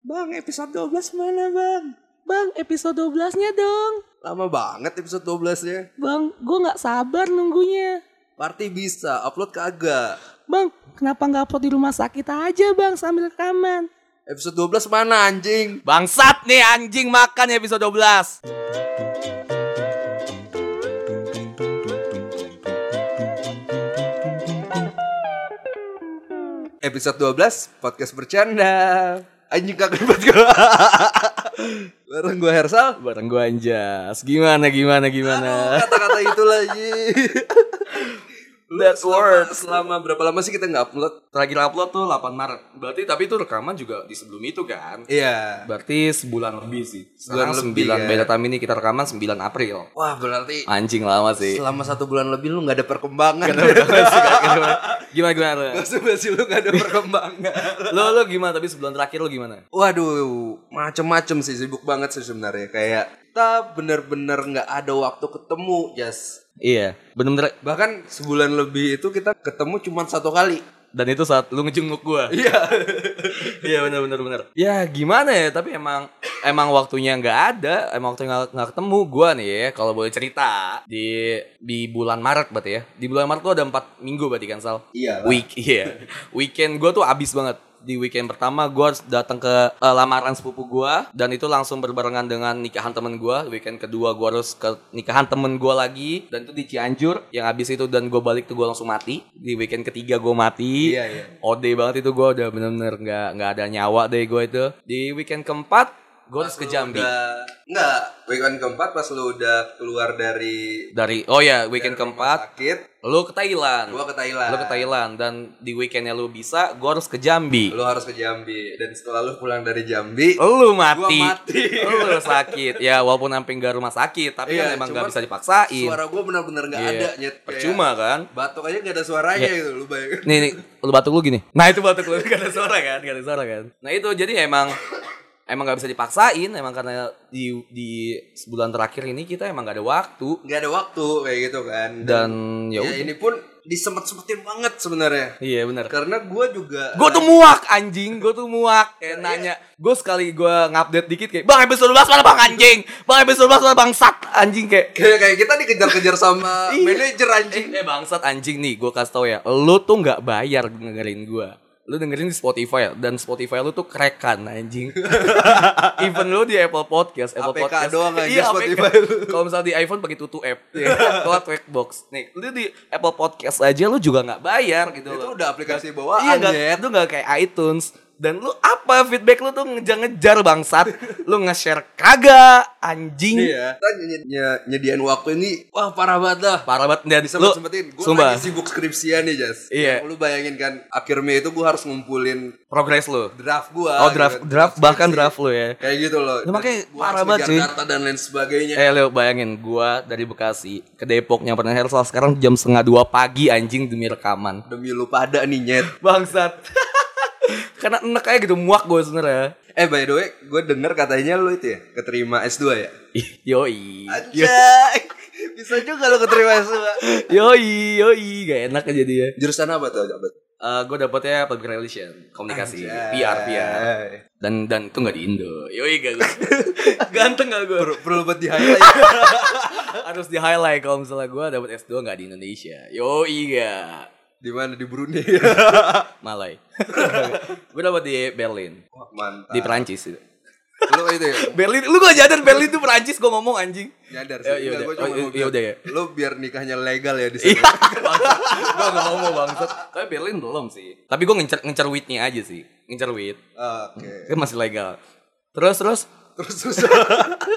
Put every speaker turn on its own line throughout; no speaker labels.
Bang, episode 12 mana bang?
Bang, episode 12-nya dong.
Lama banget episode 12-nya.
Bang, gue nggak sabar nunggunya.
Party bisa, upload kagak.
Bang, kenapa nggak upload di rumah sakit aja bang sambil rekaman?
Episode 12 mana anjing?
Bangsat nih anjing makan ya episode 12.
Episode 12, podcast bercanda. Anjing kagak buat gue. Bareng gue Hersal.
Bareng gua Anjas. Gimana gimana
Aduh,
gimana?
Kata-kata itu lagi.
That
selama,
word.
selama berapa lama sih kita nggak upload?
Terakhir upload tuh 8 Maret. Berarti tapi itu rekaman juga di sebelum itu kan?
Iya.
Berarti sebulan lebih sih.
Sebulan
Sekarang
lebih,
9
kan?
beta time ini kita rekaman 9 April.
Wah berarti
Anjing lama sih.
selama satu bulan lebih lu nggak ada perkembangan.
gimana gimana? Lo?
Maksud gue sih lu gak ada perkembangan.
Lo lo gimana tapi sebulan terakhir lo gimana?
Waduh, macem-macem sih sibuk banget sih sebenarnya. Kayak kita bener-bener nggak ada waktu ketemu, Jas.
Iya, bener-bener
Bahkan sebulan lebih itu kita ketemu cuma satu kali.
dan itu saat lu ngejenguk gua.
Iya.
Iya benar benar benar. Ya gimana ya tapi emang emang waktunya nggak ada, emang waktunya nggak- nggak ketemu gua nih ya kalau boleh cerita di di bulan Maret berarti ya. Di bulan Maret tuh ada empat minggu berarti kan Sal.
Iya lah.
Week iya. Weekend gua tuh abis banget. Di weekend pertama gua harus datang ke eh, lamaran sepupu gua dan itu langsung berbarengan dengan nikahan temen gua. Weekend kedua gua harus ke nikahan temen gua lagi dan itu di Cianjur. Yang abis itu dan gua balik tuh gua langsung mati. Di weekend ketiga gua mati.
Iya, iya.
Ode banget itu gue udah bener-bener nggak nggak ada nyawa deh gue itu. Di weekend keempat gue harus ke Jambi.
Udah, nggak, weekend keempat pas lu udah keluar dari
Dari oh ya weekend keempat
sakit,
lu ke Thailand.
gua ke Thailand.
Lu ke Thailand dan di weekendnya lu bisa gue harus ke Jambi.
Lu harus ke Jambi dan setelah lu pulang dari Jambi,
Lu Oh, mati.
Gua mati.
lu sakit. Ya walaupun sampai nggak rumah sakit tapi
Iya,
kan emang
cuman
nggak bisa dipaksain.
suara gua bener-bener nggak
Iya.
ada, nyet. Kayak
Percuma Iya. kan.
Batuk aja gak ada suaranya gitu, lu bayangin.
nih, nih lu batuk lu gini nah itu batuk lu gak ada suara kan gak ada suara kan nah itu jadi emang emang gak bisa dipaksain emang karena di di sebulan terakhir ini kita emang gak ada waktu
nggak ada waktu kayak gitu kan
dan ya udah.
ya, ini pun disemet-semetin banget sebenarnya
iya benar
karena gue juga
gue tuh muak anjing gue tuh muak
Iya.
kayak nanya gue sekali gue ngupdate dikit kayak bang episode 12 mana bang anjing bang episode 12 mana bang sat anjing kayak
kayak kayak kita dikejar-kejar sama
Iya.
manajer anjing
Eh bangsat anjing nih, gue kasih tau ya, lu tuh nggak bayar dengerin gue. Lu dengerin di Spotify dan Spotify lu tuh kerekan anjing. Even lu di Apple Podcast, Apple
APK
Podcast
doang aja
Iya, APK.
Spotify lu.
Kalau misalnya di iPhone pakai tutu app, ya. kalau trackbox. Nih, lu di Apple Podcast aja lu juga nggak bayar gitu.
itu
loh.
udah aplikasi bawaan
Iya nggak,
Jet.
itu nggak kayak iTunes. Dan lu apa feedback lu tuh ngejar-ngejar bangsat? lu nge-share kagak anjing.
iya kita ny- ny- nyediain waktu ini wah parah banget lah
Parah banget dan lu
disemet-semetin gue
sumpah
lagi sibuk skripsian nih Jas
Iya.
Yang lu bayangin kan akhir Mei itu gue harus ngumpulin
progres lu.
draft gue
Oh draft draft bahkan draft lu ya.
kayak gitu loh
Lu makanya
Dan gua
parah
harus
banget,
ngejar
cuy.
data dan lain sebagainya
Eh Leo bayangin gua dari Bekasi ke Depok nyamperin Hersal sekarang jam setengah dua pagi anjing demi rekaman.
demi lu pada nih nyet
Bangsat. Karena enek aja gitu muak gue sebenernya.
eh by the way gue denger katanya lu itu ya keterima S2 ya
Ih, Yoi.
Iya. Anjay. Bisa juga lo keterima S2.
Yoi, yoi, gak enak aja dia.
Jurusan apa tuh? Apa?
Eh gue dapetnya public relation, komunikasi, PR, PR. Dan dan itu gak di Indo. Yoi gak gue. Ganteng gak gue?
Perlu buat di highlight. ya.
Harus di highlight kalau misalnya gue dapet S2 gak di Indonesia. Yoi gak.
di mana di Brunei.
Malai. gue dapet di Berlin.
Wah, Mantap.
Di Perancis itu.
Lo itu ya.
Berlin, lu gak nyadar Berlin itu Perancis gue ngomong anjing.
Nyadar sih.
Ya, iya
Enggak,
udah.
gua cuma
Oh, iya,
mau
iya
bilang,
udah ya.
Lo biar nikahnya legal ya di
Iya,
sana.
gue gak ngomong bangsat. Tapi Berlin belum sih. Tapi gue ngincer ngincer witnya aja sih, ngincer wit.
Oke.
Kan masih legal. Terus terus.
Terus terus.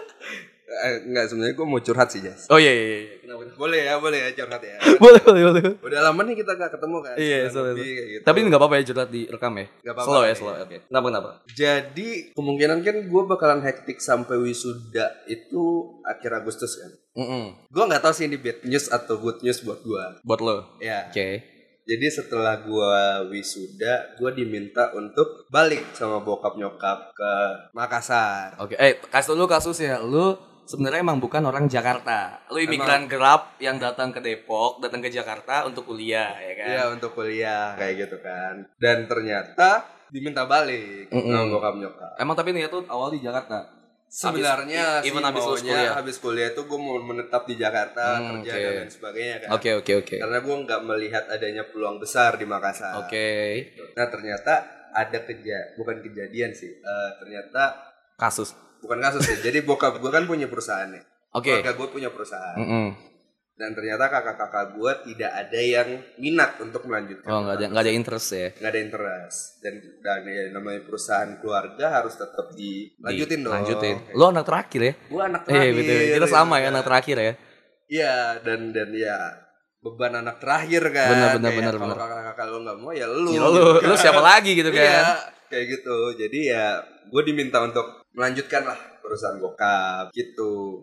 Eh, Enggak sebenarnya gue mau curhat sih, Jas.
Oh iya iya. iya.
Boleh ya, boleh ya curhat ya.
Boleh boleh boleh.
Udah lama nih kita gak ketemu kan.
Iya,
Sebulan
sorry.
lebih
sorry.
kayak gitu.
Tapi nggak apa-apa ya curhat di rekam ya.
Nggak apa-apa,
Slow ya
iya.
slow. Oke. Kenapa kenapa?
Jadi kemungkinan kan gue bakalan hektik sampai wisuda itu akhir Agustus kan.
Mm-mm.
Gue nggak tahu sih ini bad news atau good news buat gue.
Buat lo.
Ya.
Oke.
Jadi setelah gue wisuda, gue diminta untuk balik sama bokap nyokap ke Makassar.
Oke. Eh kasih lu kasusnya. Lu sebenarnya emang bukan orang Jakarta. Lu imigran gelap yang datang ke Depok, datang ke Jakarta untuk kuliah ya kan.
Iya untuk kuliah kayak gitu kan. Dan ternyata diminta balik
Mm-mm.
sama bokap nyokap.
Emang tapi niat tuh awal di Jakarta.
Sebenarnya
Habis-
sih
even habis lulus
maunya
kuliah.
habis kuliah tuh gue mau menetap di Jakarta
Hmm,
kerja
oke.
dan lain sebagainya kan.
Oke oke oke.
Karena gue nggak melihat adanya peluang besar di Makassar.
Oke.
Nah ternyata ada keja bukan kejadian sih. Eh, ternyata
Kasus.
bukan kasus sih. Jadi bokap gue kan punya perusahaan nih.
Oke. Hmm.
Keluarga gue punya perusahaan.
Mm-mm.
Dan ternyata kakak-kakak gue tidak ada yang minat untuk melanjutkan.
Oh nggak ada nggak ada interest ya.
Nggak ada interest. Dan dan ya, namanya perusahaan keluarga harus tetap dilanjutin dong.
Lanjutin. Lo anak terakhir ya?
Gue anak terakhir.
Eh betul. Kita sama ya anak terakhir ya.
Iya dan dan ya beban anak terakhir kan.
Benar, benar,
Kayak
benar,
kalau
benar.
kakak-kakak lo nggak mau ya lu.
Ya, Lo lo siapa lagi gitu
Iya,
kan?
kayak gitu. Jadi ya gue diminta untuk melanjutkan lah perusahaan bokap gitu.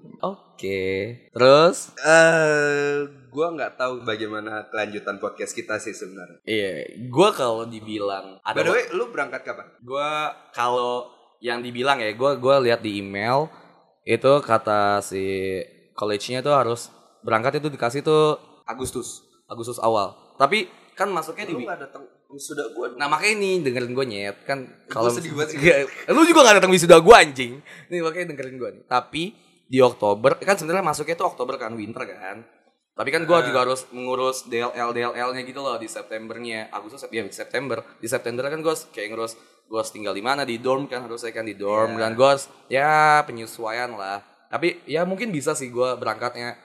Oke. Terus?
Eh, gue nggak tahu bagaimana kelanjutan podcast kita sih sebenarnya.
Iya. Gua kalau dibilang
By the way, lu berangkat kapan?
gue kalau yang dibilang ya gue gua lihat di email itu kata si college-nya tuh harus berangkat itu dikasih tuh Agustus Agustus awal tapi kan masuknya di
Lu nggak datang sudah gue.
nah makanya nih dengerin gue nyet kan kalau
sedih banget sih.
Gak- lu juga gak datang wisuda gue anjing nih makanya dengerin gue nih tapi di Oktober kan sebenarnya masuknya tuh Oktober kan winter kan tapi kan gue
Nah.
juga harus mengurus DLL DLL nya gitu loh di Septembernya Agustus Sep- ya September di September kan gue kayak ngurus gue harus tinggal di mana di dorm kan harus saya kan di dorm
Iya.
dan gue harus ya penyesuaian lah tapi ya mungkin bisa sih gue berangkatnya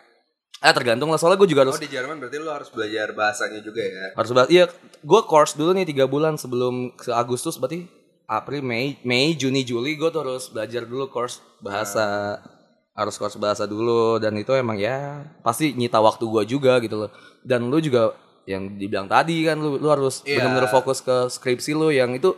eh tergantung lah soalnya gue juga harus
Oh di Jerman berarti lu harus belajar bahasanya juga ya.
harus banget iya gue course dulu nih tiga bulan sebelum ke Agustus berarti April Mei Mei Juni Juli gue terus belajar dulu course bahasa harus course bahasa dulu dan itu emang ya pasti nyita waktu gue juga gitu loh dan lu juga yang dibilang tadi kan lu lu harus benar-benar fokus ke skripsi lu yang itu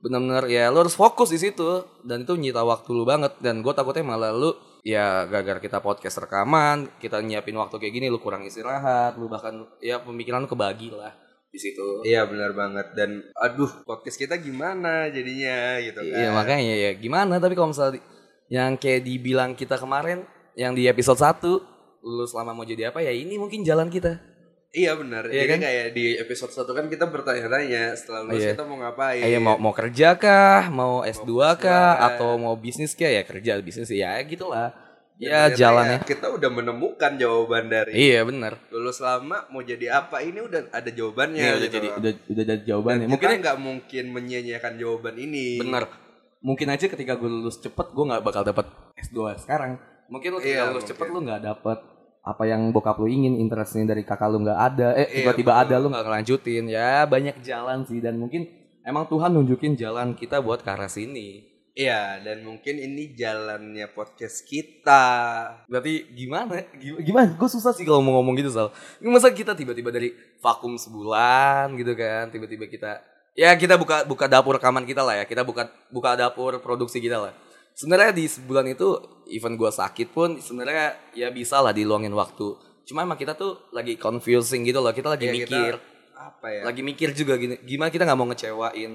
benar-benar ya lu harus fokus di situ dan itu nyita waktu lu banget dan gue takutnya malah lu ya gara-gara kita podcast rekaman kita nyiapin waktu kayak gini lu kurang istirahat lu bahkan ya pemikiran lu kebagi lah di situ
Iya benar banget dan aduh podcast kita gimana jadinya gitu kan.
iya makanya ya gimana tapi kalau misalnya di- yang kayak dibilang kita kemarin yang di episode 1 lu selama mau jadi apa ya ini mungkin jalan kita
Iya benar.
Iya
Jadi
kan?
kayak di episode 1 kan kita bertanya-tanya setelah lulus
Iya.
kita mau ngapain.
Eh, ya mau mau kerja kah, mau S2 kah,
S2.
atau mau bisnis kah ya kerja bisnis ya gitulah.
Dan
Ya
ternyata
jalannya.
ya kita udah menemukan jawaban dari
Iya bener.
lulus lama mau jadi apa ini udah ada jawabannya.
Ini Iya, udah
gitu
jadi
loh.
udah udah jadi jawabannya.
Kita
Mungkin
nggak mungkin menyia-nyiakan jawaban ini.
bener. Mungkin aja ketika gue lulus cepet gue nggak bakal dapet S2 sekarang. Mungkin lu ketika
Iya,
lulus
mungkin.
cepet lu nggak dapet apa yang bokap lu ingin interestnya dari kakak lu nggak ada eh
Iya,
tiba-tiba
betul.
ada lu nggak ngelanjutin ya banyak jalan sih dan mungkin emang Tuhan nunjukin jalan kita buat ke arah sini
Iya, dan mungkin ini jalannya podcast kita.
Berarti gimana? Gim- Gimana? Gue susah sih kalau mau ngomong gitu Sal. Ini Masa kita tiba-tiba dari vakum sebulan gitu kan, tiba-tiba kita ya kita buka buka dapur rekaman kita lah ya, kita buka buka dapur produksi kita lah. Sebenarnya di sebulan itu even gue sakit pun sebenarnya ya bisa lah diluangin waktu. Cuma emang kita tuh lagi confusing gitu loh, kita lagi
Iya, kita-
mikir,
Apa ya?
lagi mikir juga gini, gimana kita nggak mau ngecewain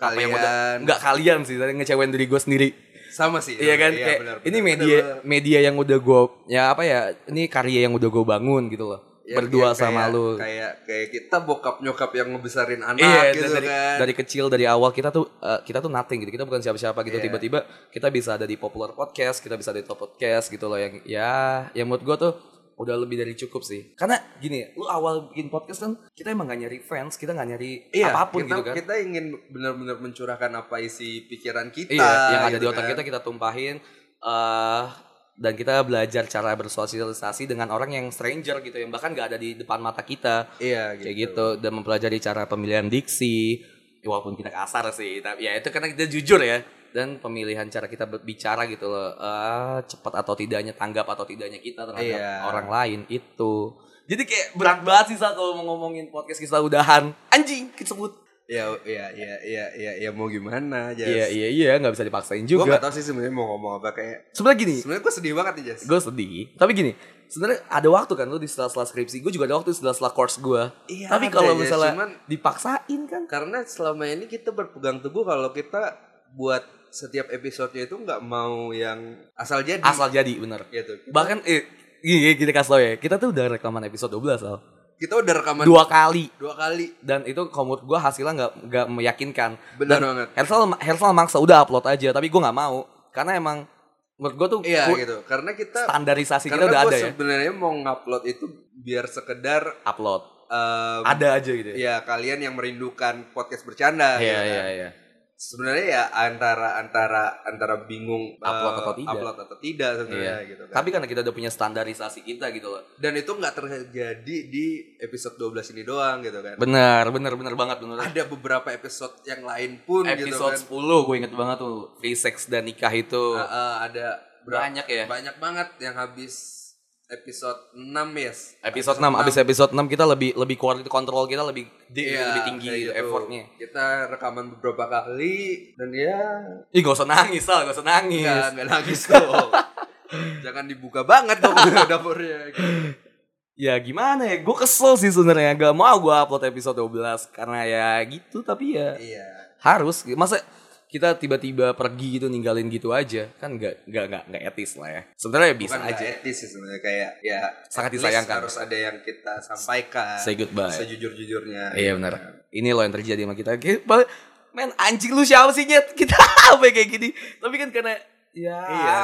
apa yang udah-
Kalian.
nggak kalian sih, tapi ngecewain diri gue sendiri.
Sama sih.
Iya kan kayak
benar,
ini
benar,
media
benar, benar.
media yang udah gue ya apa ya ini karya yang udah gue bangun gitu loh
Ya,
berdua
kayak-
sama
kayak-
lu
Kayak kayak kita bokap nyokap yang ngebesarin anak
iya dan
gitu
dari
kan.
dari kecil dari awal kita tuh eh, kita tuh nothing gitu kita bukan siapa-siapa gitu
Iya.
tiba-tiba kita bisa ada di popular podcast kita bisa ada di top podcast gitu loh yang ya yang menurut gue tuh udah lebih dari cukup sih karena gini lu awal bikin podcast kan kita emang gak nyari fans kita gak nyari
Iya,
apapun
kita,
gitu kan
Kita ingin benar-benar mencurahkan apa isi pikiran kita.
Iya, yang ada
gitu
di otak
kan.
kita kita tumpahin eh dan kita belajar cara bersosialisasi dengan orang yang stranger gitu yang bahkan nggak ada di depan mata kita
Iya, gitu.
kayak gitu dan mempelajari cara pemilihan diksi Ya, walaupun kita kasar sih tapi ya itu karena kita jujur ya dan pemilihan cara kita berbicara gitu loh eh, cepat atau tidaknya tanggap atau tidaknya kita terhadap
Iya.
orang lain itu jadi kayak berat banget sih saat kalau mau ngomongin podcast kita udahan anjing kesebut
Iya, iya, iya, iya, iya, iya, mau gimana, Jas?
iya iya iya nggak bisa dipaksain
Gue
juga
gak tau sih sebenarnya mau ngomong apa kayak
sebenarnya gini
sebenarnya gue sedih banget nih Jas.
gue sedih tapi gini sebenarnya ada waktu kan lu di sela-sela skripsi gue juga ada waktu di sela-sela course gue
Iya,
tapi
ada
kalau
ya,
misalnya
cuman-
dipaksain kan
karena selama ini kita berpegang teguh kalau kita buat setiap episodenya itu nggak mau yang asal jadi
asal jadi bener
gitu
bahkan eh, gini, gini, kita kasih tau ya kita tuh udah rekaman episode 12 loh
Kita udah rekaman
dua kali
dua kali.
dan itu kalau menurut gue hasilnya nggak nggak meyakinkan
Benar
Dan
banget.
Hersal Hersal maksa udah upload aja tapi gue nggak mau karena emang menurut gue tuh
Iya
ku-
gitu. Karena kita
standarisasi kita
karena
udah
gua
ada ya
sebenarnya mau ngupload itu biar sekedar
upload
um,
ada aja gitu ya
ya kalian yang merindukan podcast
iya
bercanda. gitu
iya
kan.
iya
Sebenarnya ya antara antara antara bingung uh,
Upload atau tidak. Iya.
upload atau tidak sebenarnya gitu kan.
tapi karena kita udah punya standarisasi kita gitu loh
Dan itu nggak terjadi di episode 12 ini doang gitu kan.
bener bener bener banget bener
Ada beberapa episode yang lain pun gitu
episode
kan.
10 gue inget banget tuh free sex dan nikah itu
Ah, ah, ada berapa-
banyak ya
banyak banget yang habis episode 6 ya.
episode 6 abis episode 6 kita lebih lebih quality control kita lebih
Iya,
lebih tinggi
kayak
gitu,
gitu.
effortnya
Kita rekaman beberapa kali dan ya
ih gak usah nangis lah gak usah nangis
nggak nggak nangis dong. Jangan dibuka banget dong dapurnya.
ya gimana ya gue kesel sih sebenarnya gak mau gue upload episode 12 karena ya gitu tapi ya
Iya.
harus masa kita tiba-tiba pergi gitu ninggalin gitu aja kan nggak nggak nggak nggak etis lah ya sebenarnya bisa
Bukan nggak
aja
etis sih sebenarnya kayak ya
Sangat
at least
disayangkan.
harus ada yang kita sampaikan
say goodbye
sejujur-jujurnya.
iya benar ini loh yang terjadi sama kita Ki- bal- men anjing lu siapa sih nyet kita apa kayak gini tapi kan karena ya kan
Iya.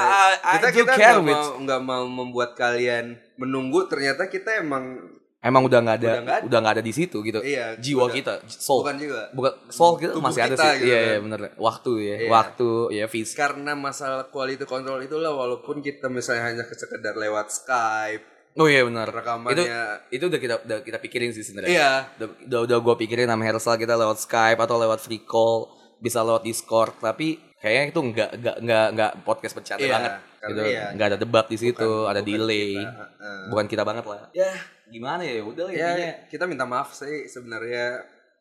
I
Kita
do
kita
care
nggak
which-
mau nggak mau membuat kalian menunggu ternyata kita emang
emang udah nggak ada
Udah nggak ada.
udah nggak ada di situ gitu
iya
jiwa
udah-
kita soul
bukan juga
bukan soul kita
Tubuh
masih ada
kita
sih
gitu
iya
kan.
iya benar waktu ya
Iya.
waktu ya fisik
karena masalah quality control itulah walaupun kita misalnya hanya sekedar lewat Skype
Oh iya benar. Itu
rekamannya
itu udah kita udah kita pikirin sih sebenarnya.
iya
Udah udah, udah gue pikirin sama Hersal kita lewat Skype atau lewat free call, bisa lewat Discord, tapi kayaknya itu nggak nggak nggak nggak podcast bercanda
Iya,
banget.
karena
Gitu.
iya.
Nggak ada debat di situ,
Bukan-
ada
bukan
delay.
kita, uh-uh.
Bukan kita banget lah. Ya, gimana ya? Udah lah
ya
intinya.
kita minta maaf sih sebenarnya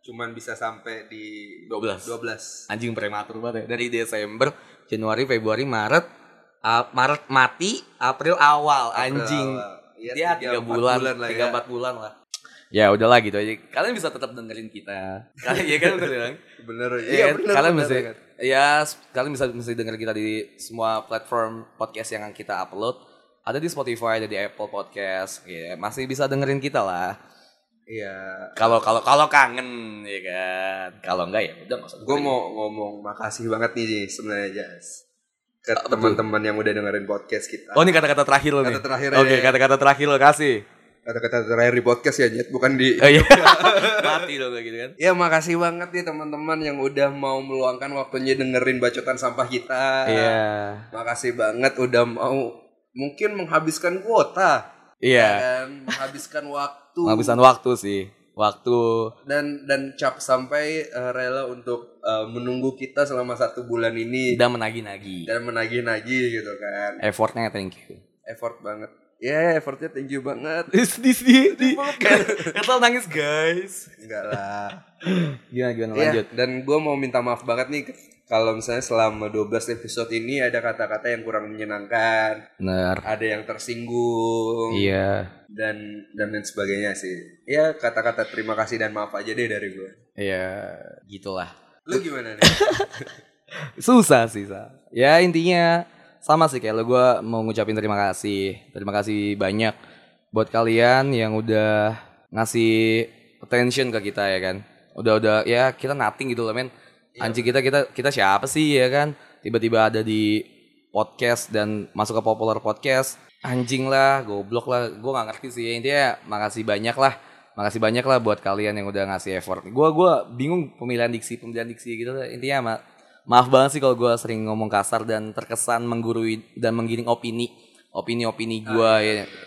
cuman bisa sampai di
12.
12
Anjing prematur banget ya. Dari Desember, Januari, Februari, Maret, A- Maret mati, April awal, anjing.
ya,
ya tiga, bulan,
lah
tiga
ya.
empat bulan lah ya udahlah gitu aja kalian bisa tetap dengerin kita kalian ya kan bener kan
bener
Iya
iya
kan?
bener
kalian
bener
bisa
banget.
ya s- kalian bisa bisa dengerin kita di semua platform podcast yang kita upload ada di Spotify ada di Apple Podcast ya masih bisa dengerin kita lah
iya
kalau kalau kalau kangen ya kan kalau enggak ya udah nggak usah
gue
dengerin.
mau ngomong makasih banget nih Ji, sebenarnya Jas ke
Apa tuh?
teman-teman yang udah dengerin podcast kita
oh ini kata-kata terakhir lo nih
Kata terakhir
oke
ya.
kata-kata terakhir lo kasih
kata-kata terakhir di podcast ya Jet bukan di
oh, iya. mati lo kayak gitu kan
Ya makasih banget nih teman-teman yang udah mau meluangkan waktunya dengerin bacotan sampah kita.
iya
Makasih banget udah mau mungkin menghabiskan kuota
iya
dan menghabiskan waktu
Penghabisan waktu sih waktu
dan dan cap sampai eh, rela untuk eh, menunggu kita selama satu bulan ini
tidak menagih-nagih
dan menagih-nagih gitu kan.
effortnya thank you
Effort banget. Ya, effortnya tinggi banget.
di di di, di kata nangis guys
Enggak lah.
gimana gimana
Iya,
lanjut
dan gue mau minta maaf banget nih kalau misalnya selama 12 episode ini ada kata-kata yang kurang menyenangkan,
bener
ada yang tersinggung
iya
dan dan lain sebagainya sih. Ya kata-kata terima kasih dan maaf aja deh dari gue.
iya gitulah
Lu gimana nih?
susah sih Sa. ya intinya sama sih kayak lo gue mau ngucapin terima kasih terima kasih banyak buat kalian yang udah ngasih attention ke kita ya kan udah udah ya kita nothing gitu loh men anjing kita kita kita siapa sih ya kan tiba-tiba ada di podcast dan masuk ke popular podcast anjing lah goblok lah gue nggak ngerti sih intinya makasih banyak lah makasih banyak lah buat kalian yang udah ngasih effort gue gua bingung pemilihan diksi pemilihan diksi gitu lah. intinya ma- maaf banget sih kalau gue sering ngomong kasar dan terkesan menggurui dan menggiring opini opini opini gue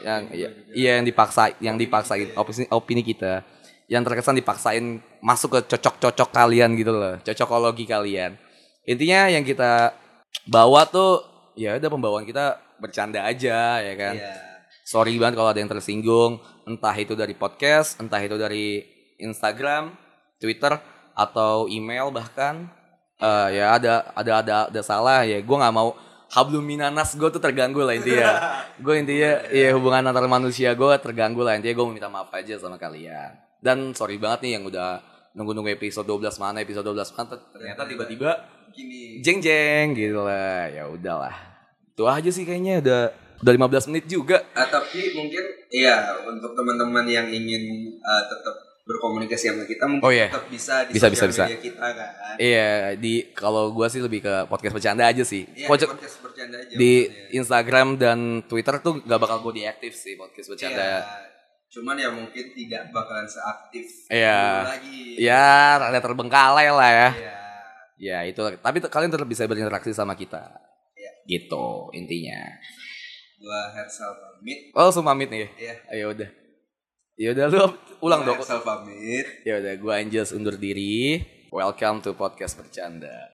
yang ya- iya yang dipaksa yang dipaksain opini opini kita yang terkesan dipaksain masuk ke cocok-cocok kalian gitu loh cocokologi kalian intinya yang kita bawa tuh ya udah pembawaan kita bercanda aja ya kan
Iya.
sorry banget kalau ada yang tersinggung entah itu dari podcast entah itu dari Instagram Twitter atau email bahkan Eh, ya ada ada ada ada salah ya gue nggak mau hablum minanas gue tuh terganggu lah intinya gue intinya ya hubungan antar manusia gue terganggu lah intinya gue mau minta maaf aja sama kalian dan sorry banget nih yang udah nunggu-nunggu episode 12 mana episode 12 mana ternyata tiba-tiba
Gini.
jeng jeng gitu lah ya udahlah itu aja sih kayaknya udah Udah 15 menit juga.
Ah, tapi mungkin ya untuk teman-teman yang ingin eh, tetap berkomunikasi sama kita mungkin
Oh, iya.
tetap bisa di
Bisa,
sosial
bisa, bisa.
media kita kan.
Iya, di kalau gua sih lebih ke podcast bercanda aja sih.
Iya, di
Pojok-
podcast bercanda aja.
di
maksudnya.
Instagram dan Twitter tuh gak bakal gue diaktif sih podcast
Iya.
bercanda.
Cuman ya mungkin tidak bakalan seaktif
Iya.
dulu lagi.
Ya, rada terbengkalai lah ya.
Iya.
Ya itu. Tapi te- kalian tetap bisa berinteraksi sama kita.
Iya.
Gitu intinya.
Gua Hersal pamit.
Oh, semua pamit nih.
Iya.
Ayo udah. Ya udah lu ulang
Gua
dong.
Hersal pamit.
Ya udah gua Anjas undur diri. Welcome to podcast bercanda.